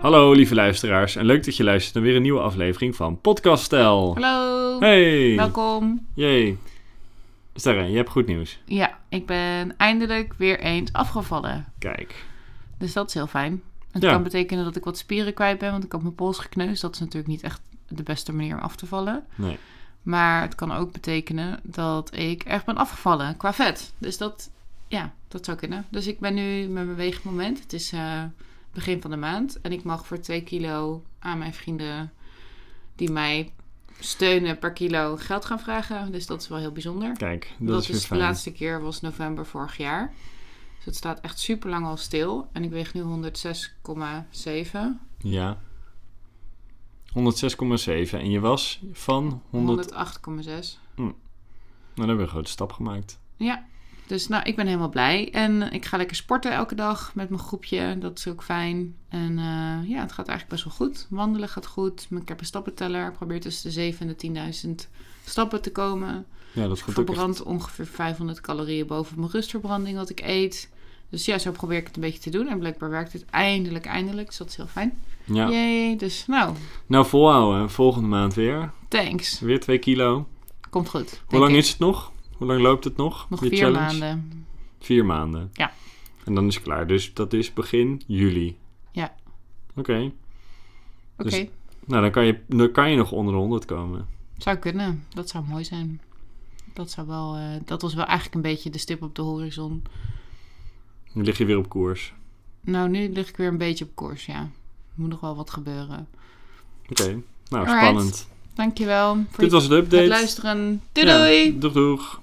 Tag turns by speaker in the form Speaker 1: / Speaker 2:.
Speaker 1: Hallo lieve luisteraars en leuk dat je luistert naar weer een nieuwe aflevering van Podcast Stijl.
Speaker 2: Hallo,
Speaker 1: Hey!
Speaker 2: welkom.
Speaker 1: Jee. Sterre, je hebt goed nieuws.
Speaker 2: Ja, ik ben eindelijk weer eens afgevallen.
Speaker 1: Kijk.
Speaker 2: Dus dat is heel fijn. Het
Speaker 1: Ja.
Speaker 2: kan betekenen dat ik wat spieren kwijt ben, want ik had mijn pols gekneusd. Dat is natuurlijk niet echt de beste manier om af te vallen.
Speaker 1: Nee.
Speaker 2: Maar het kan ook betekenen dat ik echt ben afgevallen qua vet. Dus dat, ja, dat zou kunnen. Dus ik ben nu met mijn weegmoment. Het is eh, begin van de maand. En ik mag voor 2 kilo aan mijn vrienden die mij steunen per kilo geld gaan vragen. Dus dat is wel heel bijzonder.
Speaker 1: Kijk, dat,
Speaker 2: Dat,
Speaker 1: is
Speaker 2: is,
Speaker 1: weer
Speaker 2: de
Speaker 1: fijn.
Speaker 2: laatste keer was november vorig jaar. Dus het staat echt super lang al stil. En ik weeg nu 106,7.
Speaker 1: Ja. 106,7 en je was van 100...
Speaker 2: 108,6.
Speaker 1: Nou, dan hebben we een grote stap gemaakt.
Speaker 2: Ja. Dus nou, ik ben helemaal blij. En ik ga lekker sporten elke dag met mijn groepje. Dat is ook fijn. En eh, ja, het gaat eigenlijk best wel goed. Wandelen gaat goed. Ik heb een stappenteller. Ik probeer tussen de 7.000 en de 10.000 stappen te komen.
Speaker 1: Ja, dat
Speaker 2: Ik
Speaker 1: gaat ook echt...
Speaker 2: verbrand ongeveer 500 calorieën boven mijn rustverbranding wat ik eet. Dus ja, zo probeer ik het een beetje te doen. En blijkbaar werkt het eindelijk, eindelijk. Dus dat is heel fijn.
Speaker 1: Ja.
Speaker 2: Jee, dus nou,
Speaker 1: Nou, volhouden. Volgende maand weer.
Speaker 2: thanks.
Speaker 1: Weer 2 kilo.
Speaker 2: Komt goed.
Speaker 1: Hoe
Speaker 2: denk
Speaker 1: lang
Speaker 2: ik.
Speaker 1: is het nog? Hoe lang loopt het nog?
Speaker 2: Nog
Speaker 1: je
Speaker 2: vier
Speaker 1: challenge?
Speaker 2: maanden.
Speaker 1: Vier maanden.
Speaker 2: Ja.
Speaker 1: En dan is het klaar. Dus dat is begin juli.
Speaker 2: Ja.
Speaker 1: Oké.
Speaker 2: Oké,
Speaker 1: Dus- Nou, dan kan, je, dan kan je nog onder de 100 komen.
Speaker 2: zou kunnen. Dat zou mooi zijn. Dat, zou wel, eh, dat was wel eigenlijk een beetje de stip op de horizon.
Speaker 1: Dan lig je weer op koers.
Speaker 2: Nou, nu lig ik weer een beetje op koers, ja. Er moet nog wel wat gebeuren.
Speaker 1: Oké. Nou,
Speaker 2: Alright.
Speaker 1: spannend.
Speaker 2: Dankjewel voor
Speaker 1: Dit
Speaker 2: het,
Speaker 1: was de update.
Speaker 2: het luisteren. Doei doei!
Speaker 1: Ja, doeg doeg.